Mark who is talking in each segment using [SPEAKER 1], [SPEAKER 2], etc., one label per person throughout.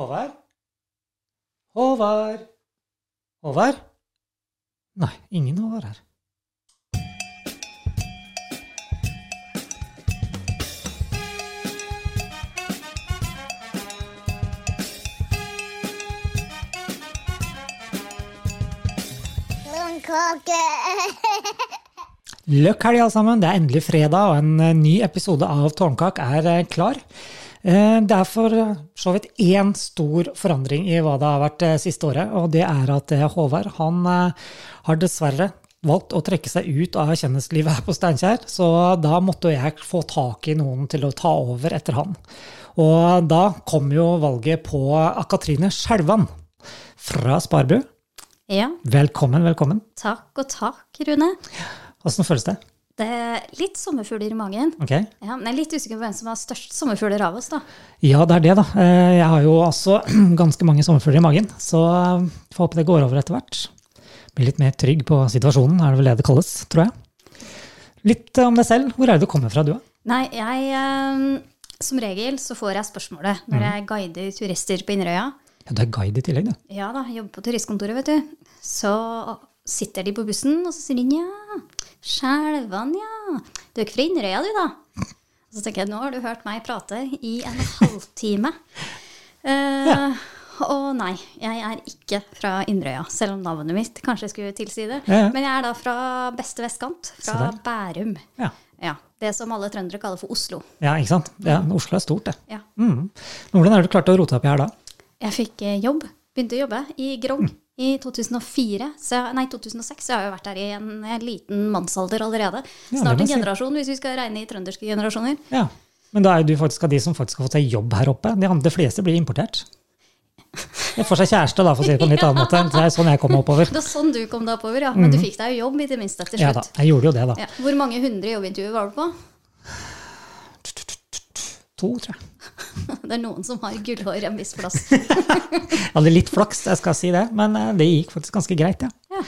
[SPEAKER 1] Håvard? Håvard? Håvard? Nei, ingen Håvard her.
[SPEAKER 2] Blomkake.
[SPEAKER 1] Løkk helg, alle sammen. Det er endelig fredag, og en eh, ny episode av Tårnkak er eh, klar. Eh, Det er for eh, så vidt én stor forandring i hva det har vært eh, siste året, og det er at eh, Håvard han eh, har dessverre valgt å trekke seg ut av kjendislivet her på Steinkjer, så da måtte jo jeg få tak i noen til å ta over etter han. Og da kom jo valget på Akatrine Skjelvan fra Sparbu.
[SPEAKER 3] Ja,
[SPEAKER 1] Velkommen, velkommen.
[SPEAKER 3] takk og takk, Rune.
[SPEAKER 1] Åssen føles det?
[SPEAKER 3] Det er litt sommerfugler i magen.
[SPEAKER 1] Ok?
[SPEAKER 3] Ja, men jeg er litt usikker på hvem som har størst sommerfugler av oss, da.
[SPEAKER 1] Ja, det er det, da. Eh, Jeg har jo også ganske mange sommerfugler i magen, så eh, får håpe det går over etter hvert. Blir litt mer trygg på situasjonen, er det vel det det kalles, tror jeg. Litt eh, om deg selv. Hvor er det du kommer fra, du? da?
[SPEAKER 3] Nei, jeg eh, Som regel så får jeg spørsmålet når jeg guider turister på Inderøya.
[SPEAKER 1] Ja, du er guide i tillegg, du.
[SPEAKER 3] Ja da, jeg jobber på turistkontoret, vet du. Så sitter de på bussen, og så sier de nja, Skjelvan, ja. Du er ikke fra Inderøya, du, da? Og så tenker jeg, nå har du hørt meg prate i en halvtime. Eh, Og nei, jeg er ikke fra Inderøya, selv om navnet mitt kanskje skulle tilsi det.
[SPEAKER 1] Ja, ja.
[SPEAKER 3] Men jeg er da fra beste vestkant,
[SPEAKER 1] Se
[SPEAKER 3] fra
[SPEAKER 1] der.
[SPEAKER 3] Bærum.
[SPEAKER 1] Ja.
[SPEAKER 3] Ja, Det som alle trøndere kaller for Oslo.
[SPEAKER 1] ja, ikke sant? Ja, Oslo er stort, det.
[SPEAKER 3] Ja.
[SPEAKER 1] Mm. Men Hvordan er det du klarte å rote deg opp i her da?
[SPEAKER 3] Jeg fikk eh, jobb, begynte å jobbe i Grong
[SPEAKER 1] Mm.
[SPEAKER 3] i 2004, så, jeg- nei 2006, så jeg har jo vært der i en, en liten mannsalder allerede.
[SPEAKER 1] Ja,
[SPEAKER 3] Snart
[SPEAKER 1] det må
[SPEAKER 3] en
[SPEAKER 1] jeg si.
[SPEAKER 3] generasjon, hvis vi skal regne i trønderske generasjoner.
[SPEAKER 1] Ja. Men da er jo du faktisk av de som faktisk har fått seg jobb her oppe. De, andre, de fleste blir importert. De får seg kjæreste, da, for å si det på en litt annen måte. Det er sånn jeg kom oppover.
[SPEAKER 3] Det var sånn du kom deg oppover, ja. Men du fikk deg jo jobb i det minste til
[SPEAKER 1] Mm. Ja da,
[SPEAKER 3] slutt.
[SPEAKER 1] jeg gjorde jo det, da.
[SPEAKER 3] Ja, Hvor mange hundre jobbintervjuer var du på?
[SPEAKER 1] To, tror jeg.
[SPEAKER 3] Det er noen som har gullhår en viss plass.
[SPEAKER 1] Jeg hadde litt flaks, jeg skal si det, men eh, det gikk faktisk ganske greit, ja.
[SPEAKER 3] Ja.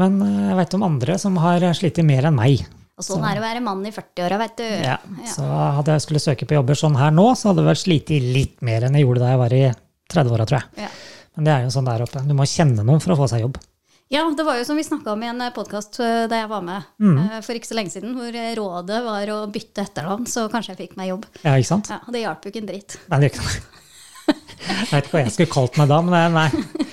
[SPEAKER 1] Men eh, jeg veit om andre som har eh, slitt mer enn meg.
[SPEAKER 3] Og sånn er det å være mann i 40-åra, vet du.
[SPEAKER 1] Ja. Så hadde jeg skulle søke på jobber sånn her nå, så hadde jeg vel slitt litt mer enn jeg gjorde da jeg var i 30-åra, tror jeg.
[SPEAKER 3] Ja.
[SPEAKER 1] Men det er jo sånn der oppe. Du må kjenne noen for å få seg jobb.
[SPEAKER 3] Ja, det var jo som vi snakka om i en podkast da jeg var med
[SPEAKER 1] Mm.
[SPEAKER 3] eh, for ikke så lenge siden, hvor eh, rådet var å bytte etternavn, så kanskje jeg fikk meg jobb.
[SPEAKER 1] Ja, ikke sant?
[SPEAKER 3] Ja, og Det hjalp jo ikke en dritt.
[SPEAKER 1] Nei, det gjør ikke noe. Jeg vet ikke hva jeg skulle kalt meg da, men eh, nei.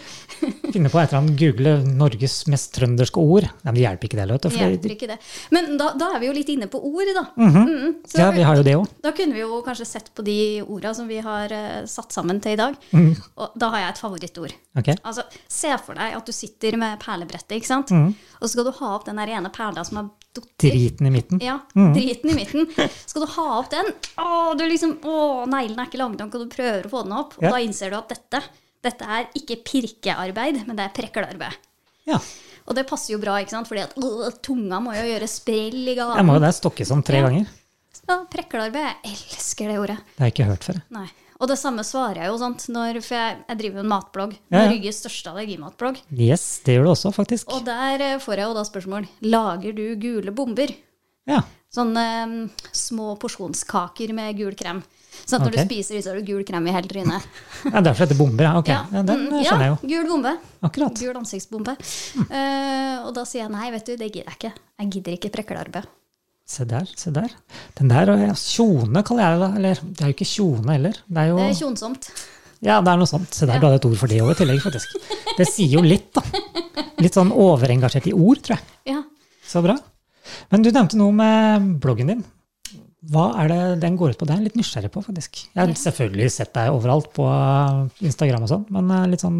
[SPEAKER 1] Finne på et eller annet, google Norges mest trønderske ord. Nei, men det hjelper ikke det, vet du.
[SPEAKER 3] Det
[SPEAKER 1] For
[SPEAKER 3] hjelper ikke det. Men da, da er vi jo litt inne på ord, da. Mhm. Så
[SPEAKER 1] ja, vi har jo det òg.
[SPEAKER 3] Da kunne vi jo kanskje sett på de orda som vi har eh, satt sammen til i dag.
[SPEAKER 1] Mhm.
[SPEAKER 3] Og da har jeg et favorittord.
[SPEAKER 1] Ok.
[SPEAKER 3] Altså, Se for deg at du sitter med perlebrettet, ikke sant? og så skal du ha opp den der ene perla som er dotter.
[SPEAKER 1] Mhm. Driten Mhm. i midten.
[SPEAKER 3] Ja, driten i midten. Skal du ha opp den? Å, du liksom, å neglene er ikke lange nok, og du prøver å få den opp. Og
[SPEAKER 1] Ja.
[SPEAKER 3] da innser du at dette, dette er ikke pirkearbeid, men det er prekkelarbeid.
[SPEAKER 1] Ja.
[SPEAKER 3] Og det passer jo bra, ikke sant? Fordi at øh, tunga må jo gjøre sprell i
[SPEAKER 1] Jeg må
[SPEAKER 3] gaven.
[SPEAKER 1] jo der stokke sånn tre
[SPEAKER 3] Ja.
[SPEAKER 1] ganger.
[SPEAKER 3] Ja, prekkelarbeid. Jeg elsker det ordet.
[SPEAKER 1] Det har jeg ikke hørt før.
[SPEAKER 3] Nei. Og det samme svarer jeg jo, sant? Når, for jeg, jeg driver jo en matblogg.
[SPEAKER 1] Ja, ja.
[SPEAKER 3] Norges største allergimatblogg.
[SPEAKER 1] Yes, det gjør du også, faktisk.
[SPEAKER 3] Og der eh, får jeg jo da spørsmål. Lager du gule bomber?
[SPEAKER 1] Ja.
[SPEAKER 3] Sånne mm, små porsjonskaker med gul krem. Sånn at når
[SPEAKER 1] Ok.
[SPEAKER 3] du spiser de, så har du gul krem i hele trynet.
[SPEAKER 1] ja derfor heter det bomber, ja. Ok, ja, den eh,
[SPEAKER 3] mm,
[SPEAKER 1] skjønner jeg jo. Hmm.
[SPEAKER 3] Gul bombe.
[SPEAKER 1] Akkurat.
[SPEAKER 3] Gul ansiktsbombe. Eh, og da sier jeg nei, vet du, det gidder jeg ikke. Jeg gidder ikke prekkelarbeid.
[SPEAKER 1] Se der, se der. Den der og ja, kjone kaller jeg det, da. Eller det er jo ikke kjone heller. Det er jo
[SPEAKER 3] Det er kjonsomt.
[SPEAKER 1] Ja, det er noe sånt. Se der, du hadde et ord for det òg i tillegg, faktisk. Det sier jo litt, da. Litt sånn overengasjert i ord, tror jeg.
[SPEAKER 3] Ja.
[SPEAKER 1] Så bra. Men du nevnte noe med bloggen din. Hva er det den går ut på? Det er jeg litt nysgjerrig på, faktisk. Jeg har selvfølgelig sett deg overalt på Instagram og sånn, men eh, litt sånn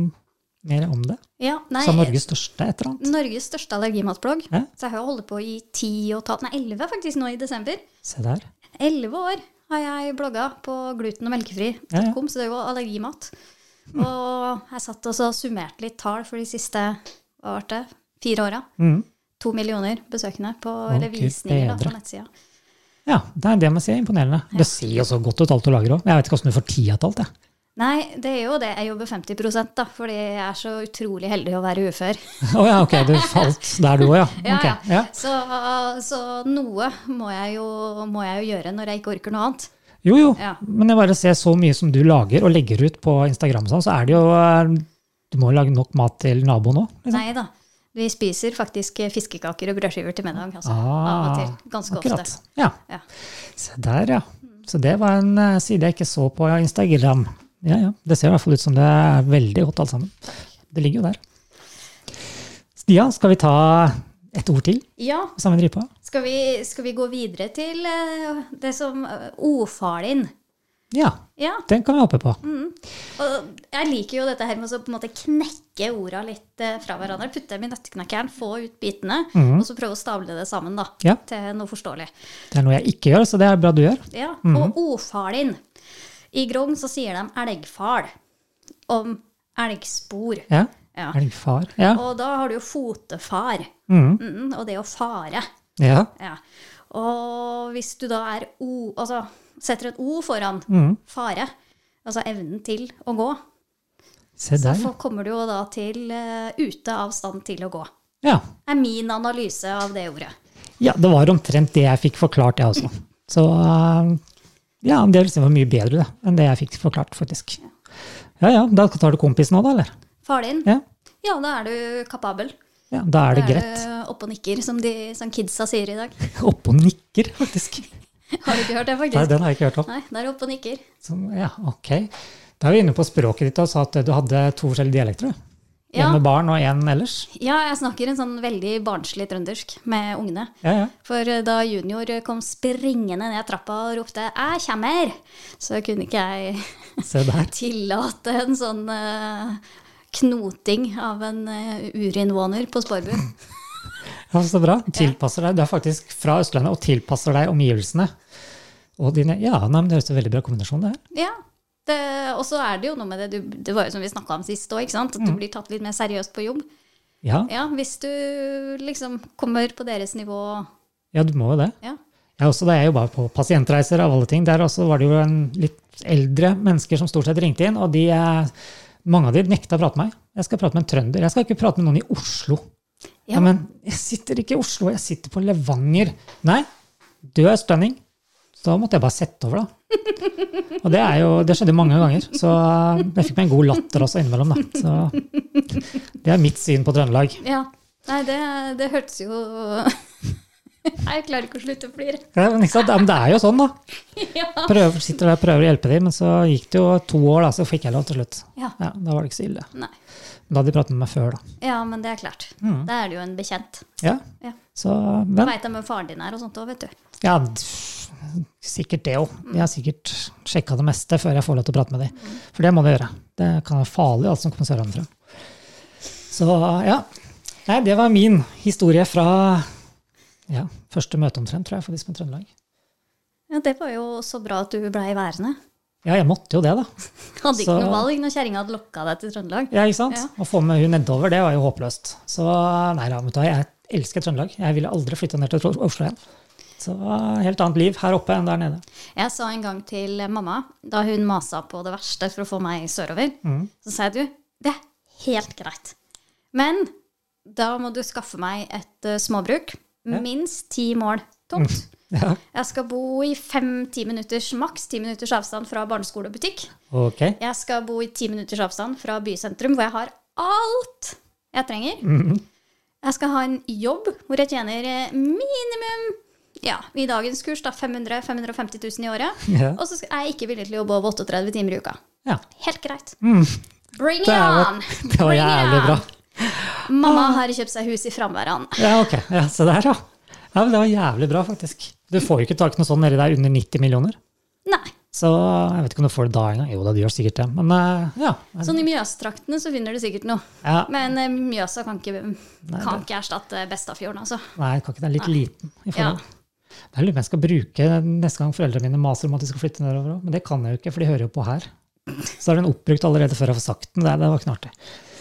[SPEAKER 1] mer om det.
[SPEAKER 3] ja nei,
[SPEAKER 1] Som Norges største, et eller annet.
[SPEAKER 3] Norges største allergimatblogg.
[SPEAKER 1] Ja.
[SPEAKER 3] Så jeg har holdt på i ti og et halvt, nei, elleve faktisk nå i desember.
[SPEAKER 1] Se der.
[SPEAKER 3] Elleve år har jeg blogga på gluten- og melkefri.com,
[SPEAKER 1] Ja, Mm.
[SPEAKER 3] så det er jo allergimat. Og jeg satt og så summerte litt tall for de siste hva var det, fire åra.
[SPEAKER 1] Mm.
[SPEAKER 3] To millioner besøkende på,
[SPEAKER 1] Å,
[SPEAKER 3] eller
[SPEAKER 1] Gud
[SPEAKER 3] visninger da, på
[SPEAKER 1] bedre.
[SPEAKER 3] nettsida.
[SPEAKER 1] Ja, det er det man sier. Imponerende. Det ser jo så godt ut, alt du lager òg. Jeg vet ikke hvordan du får tida til alt, jeg.
[SPEAKER 3] Nei, det er jo det. Jeg jobber 50 da, fordi jeg er så utrolig heldig å være ufør.
[SPEAKER 1] Å ja, ok, du falt der du òg, ja.
[SPEAKER 3] Ja,
[SPEAKER 1] Ok,
[SPEAKER 3] ja.
[SPEAKER 1] ja.
[SPEAKER 3] Så, så noe må jeg, jo, må jeg jo gjøre når jeg ikke orker noe annet.
[SPEAKER 1] Jo, jo.
[SPEAKER 3] Ja.
[SPEAKER 1] Men jeg bare ser så mye som du lager og legger ut på Instagram, og sånn, så er det jo eh, Du må jo lage nok mat til naboen òg. Liksom.
[SPEAKER 3] Nei da. Vi spiser faktisk fiskekaker og brødskiver til middag. Altså, av
[SPEAKER 1] Ah,
[SPEAKER 3] og til. Ganske
[SPEAKER 1] Akkurat.
[SPEAKER 3] ofte.
[SPEAKER 1] Ja.
[SPEAKER 3] Ja.
[SPEAKER 1] Se der, ja. Så det var en eh, side jeg ikke så på Instagram. Ja, ja. Det ser i hvert fall ut som det er veldig godt alt sammen. Det ligger jo der. Stian, skal vi ta et ord til?
[SPEAKER 3] ja.
[SPEAKER 1] Samme dripa?
[SPEAKER 3] Skal vi, skal vi gå videre til eh, det som eh, Ordfaren.
[SPEAKER 1] Ja.
[SPEAKER 3] Ja.
[SPEAKER 1] Den kan vi hoppe på.
[SPEAKER 3] Og jeg liker jo dette her med å så på en måte knekke orda litt eh, fra hverandre. Putte dem i nøtteknekkeren, få ut bitene, og så prøve å stable det sammen da,
[SPEAKER 1] Mhm. Ja.
[SPEAKER 3] til noe forståelig.
[SPEAKER 1] Det er noe jeg ikke gjør, så det er bra du gjør.
[SPEAKER 3] Ja, Og ordfaren. I Grong så sier de elgfal om elgspor.
[SPEAKER 1] Ja.
[SPEAKER 3] Ja.
[SPEAKER 1] Elgfar. Ja.
[SPEAKER 3] Og da har du jo fotefar,
[SPEAKER 1] Mhm.
[SPEAKER 3] Mhm, og det å fare.
[SPEAKER 1] ja.
[SPEAKER 3] Ja. Og hvis du da er o, altså setter et o foran
[SPEAKER 1] Mhm.
[SPEAKER 3] fare, altså evnen til å gå,
[SPEAKER 1] Se
[SPEAKER 3] så
[SPEAKER 1] der. ja.
[SPEAKER 3] får- kommer du jo da til eh, ute av stand til å gå.
[SPEAKER 1] Ja.
[SPEAKER 3] er min analyse av det ordet.
[SPEAKER 1] ja. Det var omtrent det jeg fikk forklart, jeg også. Så eh, ja, det vil si var mye bedre det, enn det jeg fikk forklart, faktisk. Ja ja, da tar du kompisen nå da, eller?
[SPEAKER 3] Far din,
[SPEAKER 1] Ja.
[SPEAKER 3] ja, da er du kapabel.
[SPEAKER 1] ja da er det
[SPEAKER 3] Da
[SPEAKER 1] greit.
[SPEAKER 3] du oppe og nikker, som, de, som kidsa sier i dag.
[SPEAKER 1] Oppe og nikker, faktisk.
[SPEAKER 3] Har du ikke hørt det,
[SPEAKER 1] Nei,
[SPEAKER 3] faktisk?
[SPEAKER 1] den har jeg ikke hørt om.
[SPEAKER 3] Nei, da er du oppe og nikker.
[SPEAKER 1] Sånn, ja, ok. Da er vi inne på språket ditt og sa at du hadde to forskjellige dialekter. du. En
[SPEAKER 3] Ja.
[SPEAKER 1] med barn og en ellers.
[SPEAKER 3] Ja, jeg snakker en sånn veldig barnslig trøndersk med ungene.
[SPEAKER 1] Ja, ja.
[SPEAKER 3] For eh, da junior kom springende ned trappa og ropte 'jeg kommer', så kunne ikke jeg
[SPEAKER 1] Se der.
[SPEAKER 3] tillate en sånn eh, knoting av en eh, urinnvåner på Sporbu.
[SPEAKER 1] Ja, så bra. Tilpasser deg. Du er faktisk fra Østlandet og tilpasser deg omgivelsene. Og dine, ja, nei, men Det høres ut som en veldig bra kombinasjon, det her.
[SPEAKER 3] Ja. Det, og så er det jo noe med det du, Det var jo som vi snakka om sist òg, at du
[SPEAKER 1] Mm.
[SPEAKER 3] blir tatt litt mer seriøst på jobb.
[SPEAKER 1] Ja,
[SPEAKER 3] Ja, hvis du liksom kommer på deres nivå.
[SPEAKER 1] ja du må jo det.
[SPEAKER 3] Ja.
[SPEAKER 1] Jeg også, da jeg jobba på pasientreiser, av alle ting, der også var det jo en litt eldre mennesker som stort sett ringte inn, og de, eh, mange av de nekta å prate med meg. Jeg skal prate med en trønder. Jeg skal ikke prate med noen i Oslo. Ja,
[SPEAKER 3] Ja.
[SPEAKER 1] men jeg sitter ikke i Oslo, jeg sitter på Levanger. Nei, du er østlending. Så da måtte jeg bare sette over, da. Og det, er jo, det skjedde mange ganger. Så eh, jeg fikk meg en god latter også innimellom, da. Så det er mitt syn på Trøndelag.
[SPEAKER 3] ja. Nei, det, det hørtes jo Nei, jeg klarer ikke å slutte å flire.
[SPEAKER 1] Ja, Men, ikke sant? Ja, men det er jo sånn, da.
[SPEAKER 3] Ja.
[SPEAKER 1] Prøver, sitter der og prøver å hjelpe dem, men så gikk det jo to år, da, så fikk jeg lov til slutt.
[SPEAKER 3] Ja.
[SPEAKER 1] Ja, Da var det ikke så ille.
[SPEAKER 3] Nei.
[SPEAKER 1] Men Da hadde de pratet med meg før, da.
[SPEAKER 3] ja, men det er klart. Da er det jo en bekjent.
[SPEAKER 1] Ja,
[SPEAKER 3] Ja.
[SPEAKER 1] så, men
[SPEAKER 3] Veit de hvem faren din er og sånt òg, vet du.
[SPEAKER 1] ja, pff, sikkert det òg. Jeg har sikkert sjekka det meste før jeg får lov til å prate med dem. For det må du gjøre. Det kan være farlig, alt som kommer sørenfra. Så ja. Nei, det var min historie fra ja, første møte omtrent, tror jeg, for de som er Trøndelag.
[SPEAKER 3] Ja, Det var jo så bra at du blei værende.
[SPEAKER 1] Ja, jeg måtte jo det, da.
[SPEAKER 3] Hadde ikke
[SPEAKER 1] Så-
[SPEAKER 3] noe valg når kjerringa hadde lokka deg til Trøndelag.
[SPEAKER 1] Ja, ikke sant?
[SPEAKER 3] Ja.
[SPEAKER 1] Å få med hun nedover, det var jo håpløst. Så nei da, vet du hva, jeg elsker Trøndelag. Jeg ville aldri flytta ned til Tro- Oslo igjen. Så helt annet liv her oppe enn der nede.
[SPEAKER 3] Jeg sa en gang til mamma, da hun masa på det verste for å få meg sørover, så sa jeg du, det er helt greit. Men da må du skaffe meg et eh, småbruk. Minst ti mål tomt.
[SPEAKER 1] Ja,
[SPEAKER 3] Jeg skal bo i fem-ti minutters, maks ti minutters avstand fra barneskole og butikk.
[SPEAKER 1] ok.
[SPEAKER 3] Jeg skal bo i ti minutters avstand fra bysentrum, hvor jeg har alt jeg trenger. Jeg skal ha en jobb hvor jeg tjener eh, minimum ja, i dagens kurs da 500 550 000 i året.
[SPEAKER 1] Ja.
[SPEAKER 3] Og så skal- er jeg ikke villig til å jobbe over 38 timer i uka.
[SPEAKER 1] Ja.
[SPEAKER 3] Helt greit. Bring
[SPEAKER 1] Mm.
[SPEAKER 3] it
[SPEAKER 1] Det er jo-
[SPEAKER 3] on!
[SPEAKER 1] Det var
[SPEAKER 3] Bring it
[SPEAKER 1] jævlig
[SPEAKER 3] on!
[SPEAKER 1] bra. Ah.
[SPEAKER 3] Mamma har kjøpt seg hus i Framværan.
[SPEAKER 1] Ja, ok. Ja, se der, ja. ja. Men det var jævlig bra, faktisk. Du får jo ikke tak i noe sånt nedi der under 90 millioner.
[SPEAKER 3] Nei.
[SPEAKER 1] Så jeg vet ikke om du får det da engang. Jo da, du gjør sikkert det. Men eh, ja.
[SPEAKER 3] Sånn i Mjøstraktene så finner du sikkert noe.
[SPEAKER 1] ja.
[SPEAKER 3] Men eh, Mjøsa kan ikke, kan ikke erstatte Bestafjorden, altså.
[SPEAKER 1] Nei, kan ikke den er litt liten i
[SPEAKER 3] Ja.
[SPEAKER 1] forhold. Det er litt mer jeg skal bruke neste gang foreldrene mine maser om at de skal flytte nedover òg. Men det kan jeg jo ikke, for de hører jo på her. Så er den oppbrukt allerede før jeg får sagt den. Det, det var ikke noe artig.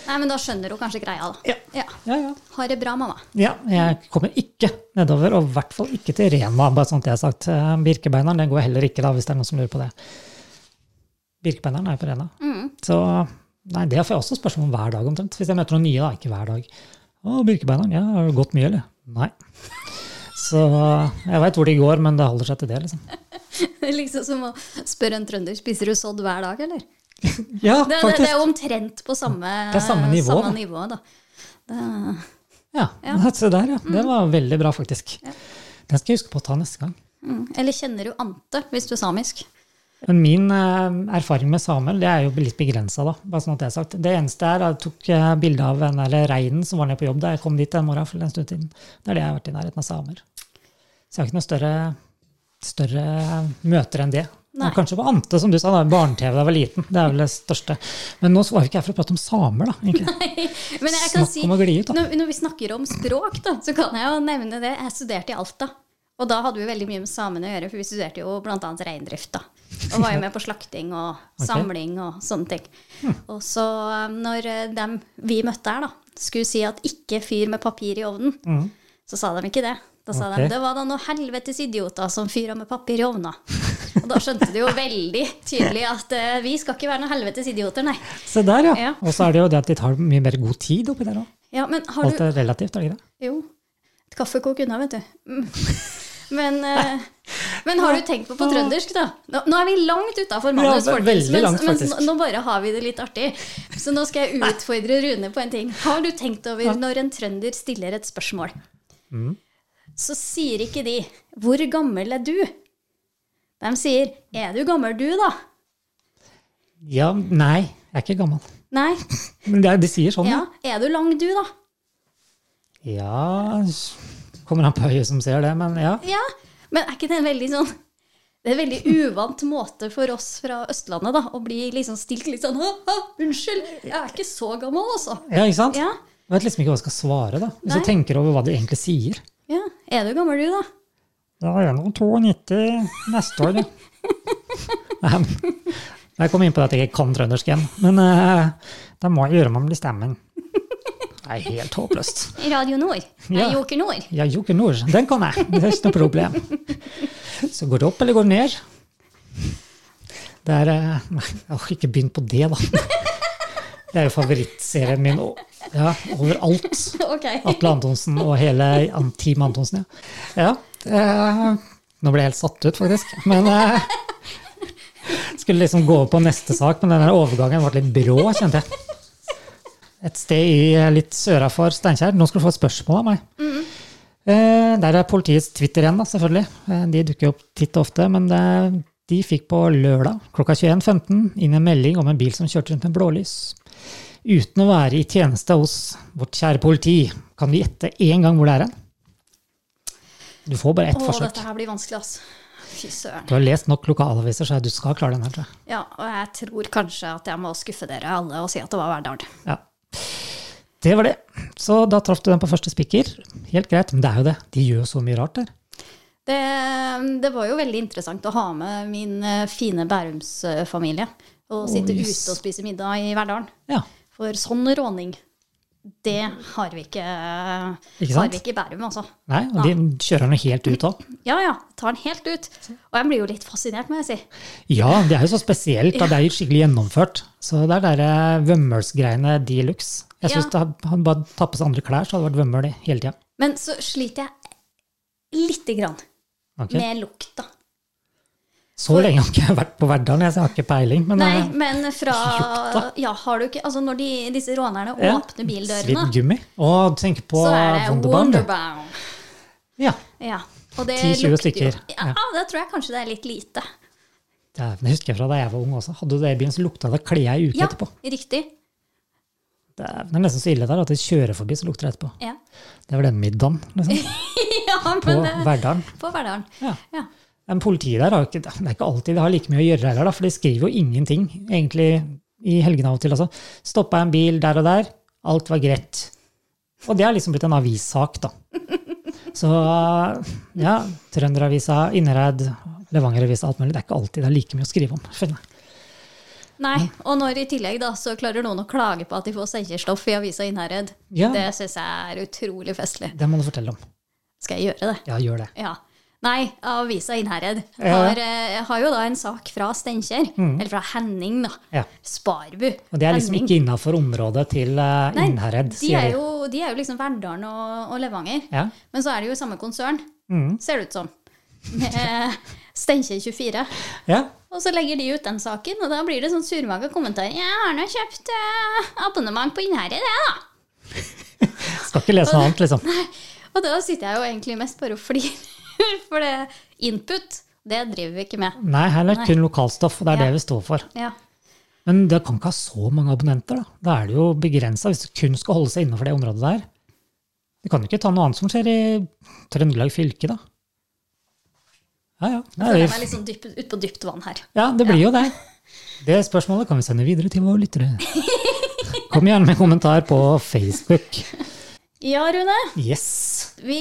[SPEAKER 3] Nei, men da skjønner hun kanskje greia, da.
[SPEAKER 1] Ja.
[SPEAKER 3] Ja.
[SPEAKER 1] Ja, ja.
[SPEAKER 3] Ha det bra, mamma.
[SPEAKER 1] Ja, jeg kommer ikke nedover, og i hvert fall ikke til Rena, bare sånn at jeg har sagt. Eh, Birkebeineren den går heller ikke, da, hvis det er noen som lurer på det. Birkebeineren er jo på Rena.
[SPEAKER 3] Mm.
[SPEAKER 1] Så nei, det får jeg også spørsmål om hver dag, omtrent. Hvis jeg møter noen nye, da. Ikke hver dag. Å, Birkebeineren, ja, har du gått mye, eller? Nei. Så jeg veit hvor de går, men det holder seg til det, liksom.
[SPEAKER 3] Det er liksom som å spørre en trønder spiser du sodd hver dag, eller?
[SPEAKER 1] Ja,
[SPEAKER 3] Det, det,
[SPEAKER 1] faktisk.
[SPEAKER 3] det er omtrent på samme,
[SPEAKER 1] Det er samme nivå,
[SPEAKER 3] samme
[SPEAKER 1] da.
[SPEAKER 3] nivå, da. Det,
[SPEAKER 1] Ja, Se der, ja.
[SPEAKER 3] Mm.
[SPEAKER 1] Det var veldig bra, faktisk. Den skal jeg huske på å ta neste gang.
[SPEAKER 3] mm. Eller kjenner du ante hvis du er samisk?
[SPEAKER 1] Men min eh, erfaring med Samuel det er jo litt begrensa, da. Bare sånn at det er sagt. Det eneste er at jeg tok eh, bilde av den der reinen som var nede på jobb da jeg kom dit den morgenen for en stund siden. Det er det jeg har vært i nærheten av samer. Så jeg har ikke noe større, større møter enn det.
[SPEAKER 3] Nei.
[SPEAKER 1] Og Kanskje på Ante, som du sa, da, barne-TV da jeg var liten. Det er vel det største. Men nå var vi ikke her for å prate om samer, da. egentlig.
[SPEAKER 3] Men jeg kan
[SPEAKER 1] Snakk
[SPEAKER 3] si,
[SPEAKER 1] om å gli ut, da.
[SPEAKER 3] når, når vi snakker om språk, da, så kan jeg jo nevne det. Jeg studerte i Alta. Og da hadde vi veldig mye med samene å gjøre, for vi studerte jo bl.a. reindrift. da. Og var jo med på slakting og
[SPEAKER 1] Ok. Hm.
[SPEAKER 3] samling og sånne ting. Og så um, når eh, dem vi møtte her, da, skulle si at ikke fyr med papir i ovnen, så sa de ikke det. Da sa
[SPEAKER 1] Mhm. Ok.
[SPEAKER 3] de det var da noen helvetes idioter som fyra med papir i ovna. Og da skjønte du jo veldig tydelig at eh, vi skal ikke være noen helvetes idioter, nei.
[SPEAKER 1] Se der, ja.
[SPEAKER 3] Ja.
[SPEAKER 1] Og så er det jo det at de tar mye mer god tid oppi der òg.
[SPEAKER 3] Ja, men har
[SPEAKER 1] Alt
[SPEAKER 3] du
[SPEAKER 1] er relativt, er det ikke det?
[SPEAKER 3] Jo. Et kaffekok unna, vet du. Mm. Men, eh, men har du tenkt på på trøndersk, da? Nå, nå er vi langt utafor manus,
[SPEAKER 1] Ja, ve-
[SPEAKER 3] folkens.
[SPEAKER 1] veldig
[SPEAKER 3] Men,
[SPEAKER 1] langt,
[SPEAKER 3] men
[SPEAKER 1] faktisk.
[SPEAKER 3] nå, nå bare har vi det litt artig. Så nå skal jeg utfordre Rune på en ting. Har du tenkt over når en trønder stiller et spørsmål,
[SPEAKER 1] Mm.
[SPEAKER 3] så sier ikke de 'Hvor gammel er du?' De sier 'Er du gammel, du, da?'
[SPEAKER 1] Ja, nei, jeg er ikke gammel.
[SPEAKER 3] Nei.
[SPEAKER 1] Men det, er- de sier sånn, ja.
[SPEAKER 3] Ja. 'Er du lang, du, da?'
[SPEAKER 1] Ja s- Kommer han på øyet som ser det, men ja.
[SPEAKER 3] Ja, men er ikke det en veldig sånn det er en veldig uvant måte for oss fra Østlandet da, å bli liksom stilt litt sånn «Hå, hå, 'Unnskyld, jeg er ikke så gammel, altså'.
[SPEAKER 1] Ja, ikke sant?
[SPEAKER 3] Ja,
[SPEAKER 1] Jeg vet liksom ikke hva jeg skal svare, da. Hvis
[SPEAKER 3] Nei.
[SPEAKER 1] du tenker over hva de egentlig sier.
[SPEAKER 3] ja. Er du gammel, du, da?
[SPEAKER 1] Ja, jeg er nå 92 neste år, da. Nei, men- Jeg kom inn på at jeg ikke kan trøndersk igjen, men eh, da må jeg gjøre meg om bestemmen. Det er helt håpløst.
[SPEAKER 3] Radio Nord. Nei,
[SPEAKER 1] Ja.
[SPEAKER 3] Joker Nord.
[SPEAKER 1] Ja, Joker Nord, den kan jeg. Det er ikke noe problem. Så går det opp eller går det ned? Det er eh, Nei, jeg har ikke begynt på det, da. Det er jo favorittserien min og- ja, overalt.
[SPEAKER 3] Ok.
[SPEAKER 1] Atle Antonsen og hele an- Team Antonsen, ja. ja eh, nå ble jeg helt satt ut, faktisk. Men eh, skulle liksom gå over på neste sak, men den der overgangen ble litt brå, kjente jeg. Et sted i eh, litt søra for Steinkjer. Nå skal du få et spørsmål av meg. Eh, der er politiets Twitter igjen, da, selvfølgelig. Eh, de dukker jo opp titt og ofte. Men det, de fikk på lørdag klokka 21.15 inn en melding om en bil som kjørte rundt med blålys. Uten å være i tjeneste hos vårt kjære politi, kan du gjette én gang hvor det er hen? Du får bare ett
[SPEAKER 3] Å,
[SPEAKER 1] forsøk.
[SPEAKER 3] dette her blir vanskelig, altså. Fy søren.
[SPEAKER 1] Du har lest nok lokalaviser, så du skal klare den her, tror jeg.
[SPEAKER 3] Ja, og jeg tror kanskje at jeg må skuffe dere alle og si at det var Verdal.
[SPEAKER 1] Ja. Det var det. Så da traff du den på første spiker. Helt greit, men det er jo det. De gjør jo så mye rart der.
[SPEAKER 3] Det, det var jo veldig interessant å ha med min eh, fine Bærums-familie og sitte
[SPEAKER 1] yes.
[SPEAKER 3] ute og spise middag i Verdalen.
[SPEAKER 1] Ja.
[SPEAKER 3] For sånn råning, det har vi ikke,
[SPEAKER 1] Ikke
[SPEAKER 3] har
[SPEAKER 1] sant?
[SPEAKER 3] vi ikke i Bærum, altså.
[SPEAKER 1] Nei, og de kjører den helt ut òg.
[SPEAKER 3] Ja ja, tar den helt ut. Og jeg blir jo litt fascinert, må jeg si.
[SPEAKER 1] Ja, det er jo så spesielt. Da. Det er jo skikkelig gjennomført. Så det er der Vømmøls-greiene de luxe. Jeg syns
[SPEAKER 3] Ja.
[SPEAKER 1] det hadde bare tatt på seg andre klær, så hadde det vært Vømmøl i hele tida.
[SPEAKER 3] Men så sliter jeg lite grann med lukta.
[SPEAKER 1] Så lenge har ikke jeg vært på Verdalen, jeg, så jeg har ikke peiling. Men
[SPEAKER 3] Nei,
[SPEAKER 1] eh,
[SPEAKER 3] men fra
[SPEAKER 1] Lukta?
[SPEAKER 3] Ja, har du ikke Altså, når de, disse rånerne
[SPEAKER 1] ja,
[SPEAKER 3] åpner bildørene,
[SPEAKER 1] Svidd gummi. Og du tenker på
[SPEAKER 3] så er det
[SPEAKER 1] Wonderbound. du.
[SPEAKER 3] Wonderbound.
[SPEAKER 1] Ja,
[SPEAKER 3] Ja, og det
[SPEAKER 1] 10-20
[SPEAKER 3] lukter jo-
[SPEAKER 1] stykker.
[SPEAKER 3] Ja, det tror jeg kanskje det er litt lite.
[SPEAKER 1] Dæven, det husker jeg fra da jeg var ung også. Hadde du det i byen, så lukta det kle ei uke
[SPEAKER 3] Ja,
[SPEAKER 1] etterpå.
[SPEAKER 3] riktig.
[SPEAKER 1] Dæven, Det er nesten så ille der at de kjører forbi, så lukter det etterpå.
[SPEAKER 3] Ja,
[SPEAKER 1] Det var den middagen, liksom.
[SPEAKER 3] ja
[SPEAKER 1] På
[SPEAKER 3] men det,
[SPEAKER 1] Verdalen.
[SPEAKER 3] på Verdalen.
[SPEAKER 1] Ja.
[SPEAKER 3] Ja.
[SPEAKER 1] Men politiet der har jo ikke, det er ikke alltid de har like mye å gjøre heller, da, for de skriver jo ingenting egentlig i helgene av og til. Altså. Stoppa en bil der og der, alt var greit. Og det har liksom blitt en avissak, da. Så ja, Trønderavisa, Innereid, Levangeravisa, alt mulig. Det er ikke alltid det er like mye å skrive om. skjønner jeg.
[SPEAKER 3] Nei, og når i tillegg da, så klarer noen å klage på at de får senkestoff i avisa Innherred,
[SPEAKER 1] Ja.
[SPEAKER 3] det syns jeg er utrolig festlig.
[SPEAKER 1] Det må du fortelle om.
[SPEAKER 3] Skal jeg gjøre det?
[SPEAKER 1] Ja, gjør det.
[SPEAKER 3] Ja. Nei, avisa Innherred
[SPEAKER 1] Ja.
[SPEAKER 3] har, eh, har jo da en sak fra Steinkjer, eller fra Henning, da.
[SPEAKER 1] Ja.
[SPEAKER 3] Sparbu.
[SPEAKER 1] Og det er liksom
[SPEAKER 3] Henning.
[SPEAKER 1] ikke innafor området til eh,
[SPEAKER 3] Nei,
[SPEAKER 1] Innherred,
[SPEAKER 3] de
[SPEAKER 1] sier
[SPEAKER 3] er,
[SPEAKER 1] de.
[SPEAKER 3] jo, de er jo liksom Verdalen og, og Levanger.
[SPEAKER 1] Ja.
[SPEAKER 3] Men så er det jo samme konsern,
[SPEAKER 1] Mhm.
[SPEAKER 3] ser det ut som. Med Steinkjer24.
[SPEAKER 1] Ja.
[SPEAKER 3] Og så legger de ut den saken, og da blir det sånn surmaga kommentar. 'Jeg har nå kjøpt eh, abonnement på Innherred, jeg, da'.
[SPEAKER 1] Skal ikke lese noe annet, liksom.
[SPEAKER 3] Og da sitter jeg jo egentlig mest bare og flirer, for det input, det driver vi ikke med.
[SPEAKER 1] Nei, heller
[SPEAKER 3] Nei.
[SPEAKER 1] kun lokalstoff. og Det er
[SPEAKER 3] Ja.
[SPEAKER 1] det vi står for.
[SPEAKER 3] Ja.
[SPEAKER 1] Men det kan ikke ha så mange abonnenter, da. Da er det jo begrensa, hvis det kun skal holde seg innenfor det området der. Du kan jo ikke ta noe annet som skjer i Trøndelag fylke, da. Ja, ja. Nei,
[SPEAKER 3] Føler jeg meg
[SPEAKER 1] det,
[SPEAKER 3] litt sånn dypt- ut på dypt vann her.
[SPEAKER 1] ja, det blir jo det. Det spørsmålet kan vi sende videre til våre lyttere. Kom gjerne med kommentar på Facebook.
[SPEAKER 3] Ja, Rune.
[SPEAKER 1] Yes.
[SPEAKER 3] Vi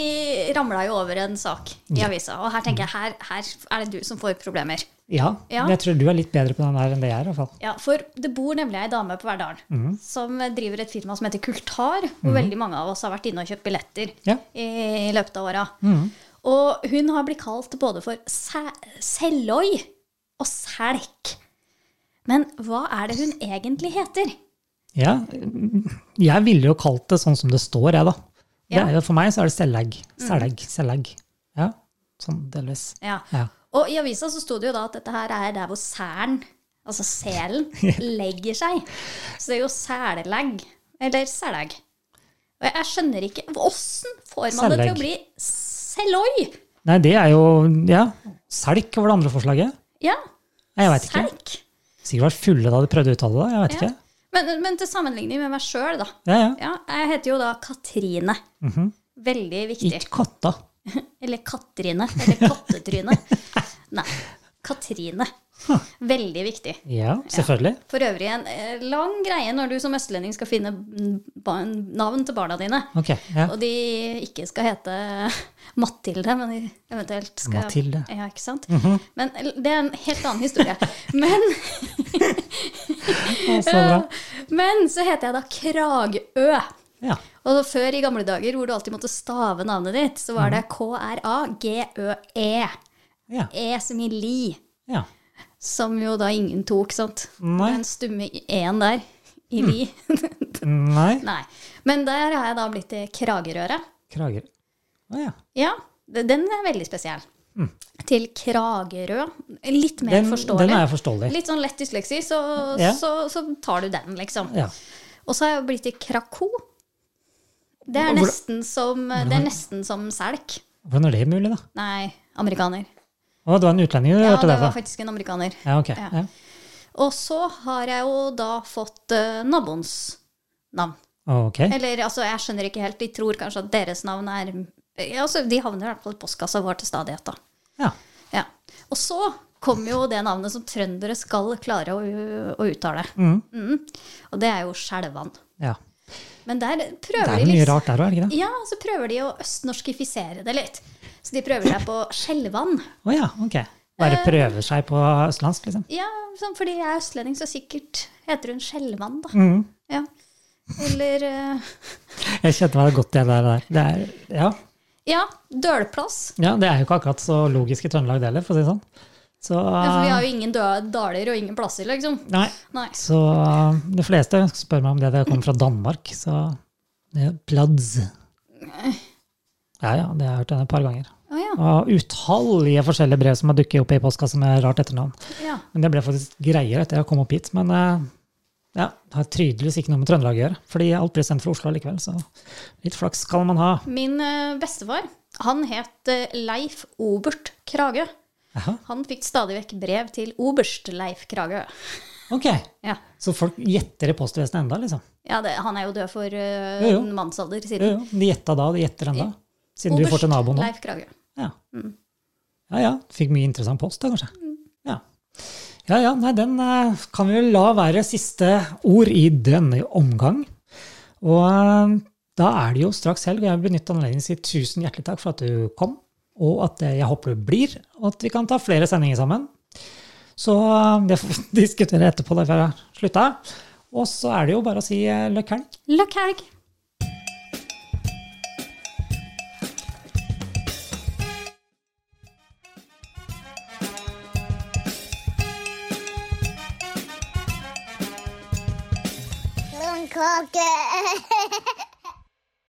[SPEAKER 3] ramla jo over en sak i avisa, og her tenker jeg her, her er det du som får problemer.
[SPEAKER 1] Ja,
[SPEAKER 3] Ja.
[SPEAKER 1] jeg tror du er litt bedre på den her enn det jeg er, i hvert fall.
[SPEAKER 3] Ja, For det bor nemlig ei dame på Verdalen
[SPEAKER 1] Mhm.
[SPEAKER 3] som driver et firma som heter Kultar, hvor veldig mange av oss har vært inne og kjøpt billetter
[SPEAKER 1] Ja.
[SPEAKER 3] i løpet av åra.
[SPEAKER 1] Mm.
[SPEAKER 3] Og hun har blitt kalt både for sæ- Seløy og Selk. Men hva er det hun egentlig heter?
[SPEAKER 1] Ja, jeg ville jo kalt det sånn som det står, jeg, da. Det
[SPEAKER 3] Ja. Mm.
[SPEAKER 1] er jo, for meg så er det sellegg. Sellegg, sellegg. Ja, sånn delvis.
[SPEAKER 3] Ja.
[SPEAKER 1] Ja.
[SPEAKER 3] Og i avisa så sto det jo da at dette her er der hvor særen, altså selen, legger seg. Så det er jo sælelegg. Eller selegg. Og jeg- jeg skjønner ikke Åssen får man det til
[SPEAKER 1] Selegg.
[SPEAKER 3] å bli seloi?
[SPEAKER 1] Nei, det er jo Ja. Selk var det andre forslaget.
[SPEAKER 3] Ja,
[SPEAKER 1] Nei, Jeg veit ikke.
[SPEAKER 3] selk.
[SPEAKER 1] Sikkert vært fulle da de prøvde å uttale det. Jeg vet
[SPEAKER 3] Ja.
[SPEAKER 1] ikke.
[SPEAKER 3] Men, men til sammenligning med meg sjøl, da.
[SPEAKER 1] Ja, ja.
[SPEAKER 3] Ja, jeg heter jo da Katrine. Veldig viktig.
[SPEAKER 1] Mhm. Ikke katta.
[SPEAKER 3] Eller Katrine. Eller Kattetryne. Nei. Katrine. Veldig viktig.
[SPEAKER 1] Ja, selvfølgelig.
[SPEAKER 3] For øvrig en eh, lang greie når du som østlending skal finne mm, ba- navn til barna dine.
[SPEAKER 1] Ok. Ja.
[SPEAKER 3] Og de ikke skal hete Mathilde, men de eventuelt skal
[SPEAKER 1] Mathilde. Mhm.
[SPEAKER 3] Ja, ikke sant? Men l- det er en helt annen historie. Men,
[SPEAKER 1] Å, Så bra.
[SPEAKER 3] men så heter jeg da Kragø.
[SPEAKER 1] Ja.
[SPEAKER 3] Og før i gamle dager hvor du alltid måtte stave navnet ditt, så var
[SPEAKER 1] Mhm.
[SPEAKER 3] det K-R-A-G-Ø-E.
[SPEAKER 1] Ja.
[SPEAKER 3] E som i li.
[SPEAKER 1] ja.
[SPEAKER 3] Som jo da ingen tok, sant?
[SPEAKER 1] Nei. Mm.
[SPEAKER 3] Den stumme E-en der. I li.
[SPEAKER 1] Nei.
[SPEAKER 3] Nei. Men der har jeg da blitt til Kragerøre.
[SPEAKER 1] Krager. Å ja.
[SPEAKER 3] Ja, d- den er veldig spesiell. Til Kragerø. Litt
[SPEAKER 1] Mm.
[SPEAKER 3] mer
[SPEAKER 1] Den,
[SPEAKER 3] forståelig.
[SPEAKER 1] den er forståelig.
[SPEAKER 3] Litt sånn lett dysleksi, så,
[SPEAKER 1] Ja.
[SPEAKER 3] så, så tar du den, liksom.
[SPEAKER 1] Ja.
[SPEAKER 3] Og så har jeg blitt til Krako. Det er,
[SPEAKER 1] Hvordan-
[SPEAKER 3] nesten som, det
[SPEAKER 1] Mhm.
[SPEAKER 3] er nesten som selk.
[SPEAKER 1] Hvordan er det mulig, da?
[SPEAKER 3] Nei, amerikaner.
[SPEAKER 1] Å, det var en utlending du
[SPEAKER 3] Ja,
[SPEAKER 1] hørte
[SPEAKER 3] det
[SPEAKER 1] det
[SPEAKER 3] var
[SPEAKER 1] fra?
[SPEAKER 3] faktisk en amerikaner.
[SPEAKER 1] Ja, ok.
[SPEAKER 3] Ja.
[SPEAKER 1] Ja.
[SPEAKER 3] Og så har jeg jo da fått eh, naboens navn.
[SPEAKER 1] Ok.
[SPEAKER 3] Eller altså, jeg skjønner ikke helt. De tror kanskje at deres navn er ja, altså, De havner i hvert fall i postkassa vår til stadighet, da.
[SPEAKER 1] Ja.
[SPEAKER 3] Ja. Og så kommer jo det navnet som trøndere skal klare å, å uttale. Mm. Og det er jo Skjelvan.
[SPEAKER 1] ja.
[SPEAKER 3] Men der
[SPEAKER 1] Det
[SPEAKER 3] prøver
[SPEAKER 1] er jo
[SPEAKER 3] de
[SPEAKER 1] mye
[SPEAKER 3] liksom
[SPEAKER 1] rart der òg, er det ikke det?
[SPEAKER 3] Ja, så prøver de å østnorskifisere det litt. Så de prøver seg på Skjelvan.
[SPEAKER 1] Å ja, ok. Eh. Bare prøver seg på østlandsk, liksom.
[SPEAKER 3] Ja, sånn, fordi jeg er østlending, så sikkert heter hun Skjelvan, da.
[SPEAKER 1] Mhm.
[SPEAKER 3] Ja. Eller eh,
[SPEAKER 1] Jeg kjente meg godt igjen der. der. Det er, ja.
[SPEAKER 3] Ja, dølplass.
[SPEAKER 1] ja, det er jo ikke akkurat så logisk i Trøndelag det heller, for å si det sånn. Så,
[SPEAKER 3] Ja, for vi har jo ingen dø- daler og ingen plasser, liksom.
[SPEAKER 1] nei,
[SPEAKER 3] Nei.
[SPEAKER 1] så de fleste spør meg om det. Det kommer fra Danmark, så det er Plads. Ja, ja, det har jeg hørt henne et par ganger.
[SPEAKER 3] Å ja.
[SPEAKER 1] Og utallige forskjellige brev som har dukket opp i postkassa med rart etternavn.
[SPEAKER 3] ja.
[SPEAKER 1] Men det ble faktisk greiere etter jeg kom opp hit. Men eh, ja, det har tydeligvis ikke noe med Trøndelag å gjøre, fordi alt blir sendt fra Oslo likevel, så litt flaks skal man ha.
[SPEAKER 3] Min eh, bestefar, han het eh, Leif Obert Kragø.
[SPEAKER 1] Jaha,
[SPEAKER 3] Han fikk stadig vekk brev til oberst Leif Kragø.
[SPEAKER 1] ok.
[SPEAKER 3] Ja.
[SPEAKER 1] Så folk gjetter i postvesenet enda, liksom?
[SPEAKER 3] Ja, det, han er jo død for eh,
[SPEAKER 1] Jo, jo.
[SPEAKER 3] en mannsalder
[SPEAKER 1] Jo,
[SPEAKER 3] siden.
[SPEAKER 1] jo. De gjetta da, de gjetter ennå. Siden du får til naboen
[SPEAKER 3] Oberst
[SPEAKER 1] nå.
[SPEAKER 3] Leif Kragø.
[SPEAKER 1] Ja. ja ja. Fikk mye interessant post da, kanskje. Ja. Ja ja, nei, den eh, kan vi vel la være siste ord i denne omgang. Og eh, da er det jo straks helg, og jeg vil benytte anledningen til å si tusen hjertelig takk for at du kom, og at eh, jeg håper du blir, og at vi kan ta flere sendinger sammen. Så eh, det får vi diskutere etterpå, da, før jeg har slutta. Og så er det jo bare å si eh, løkk helg.
[SPEAKER 3] Løkk helg!
[SPEAKER 2] Blomkake.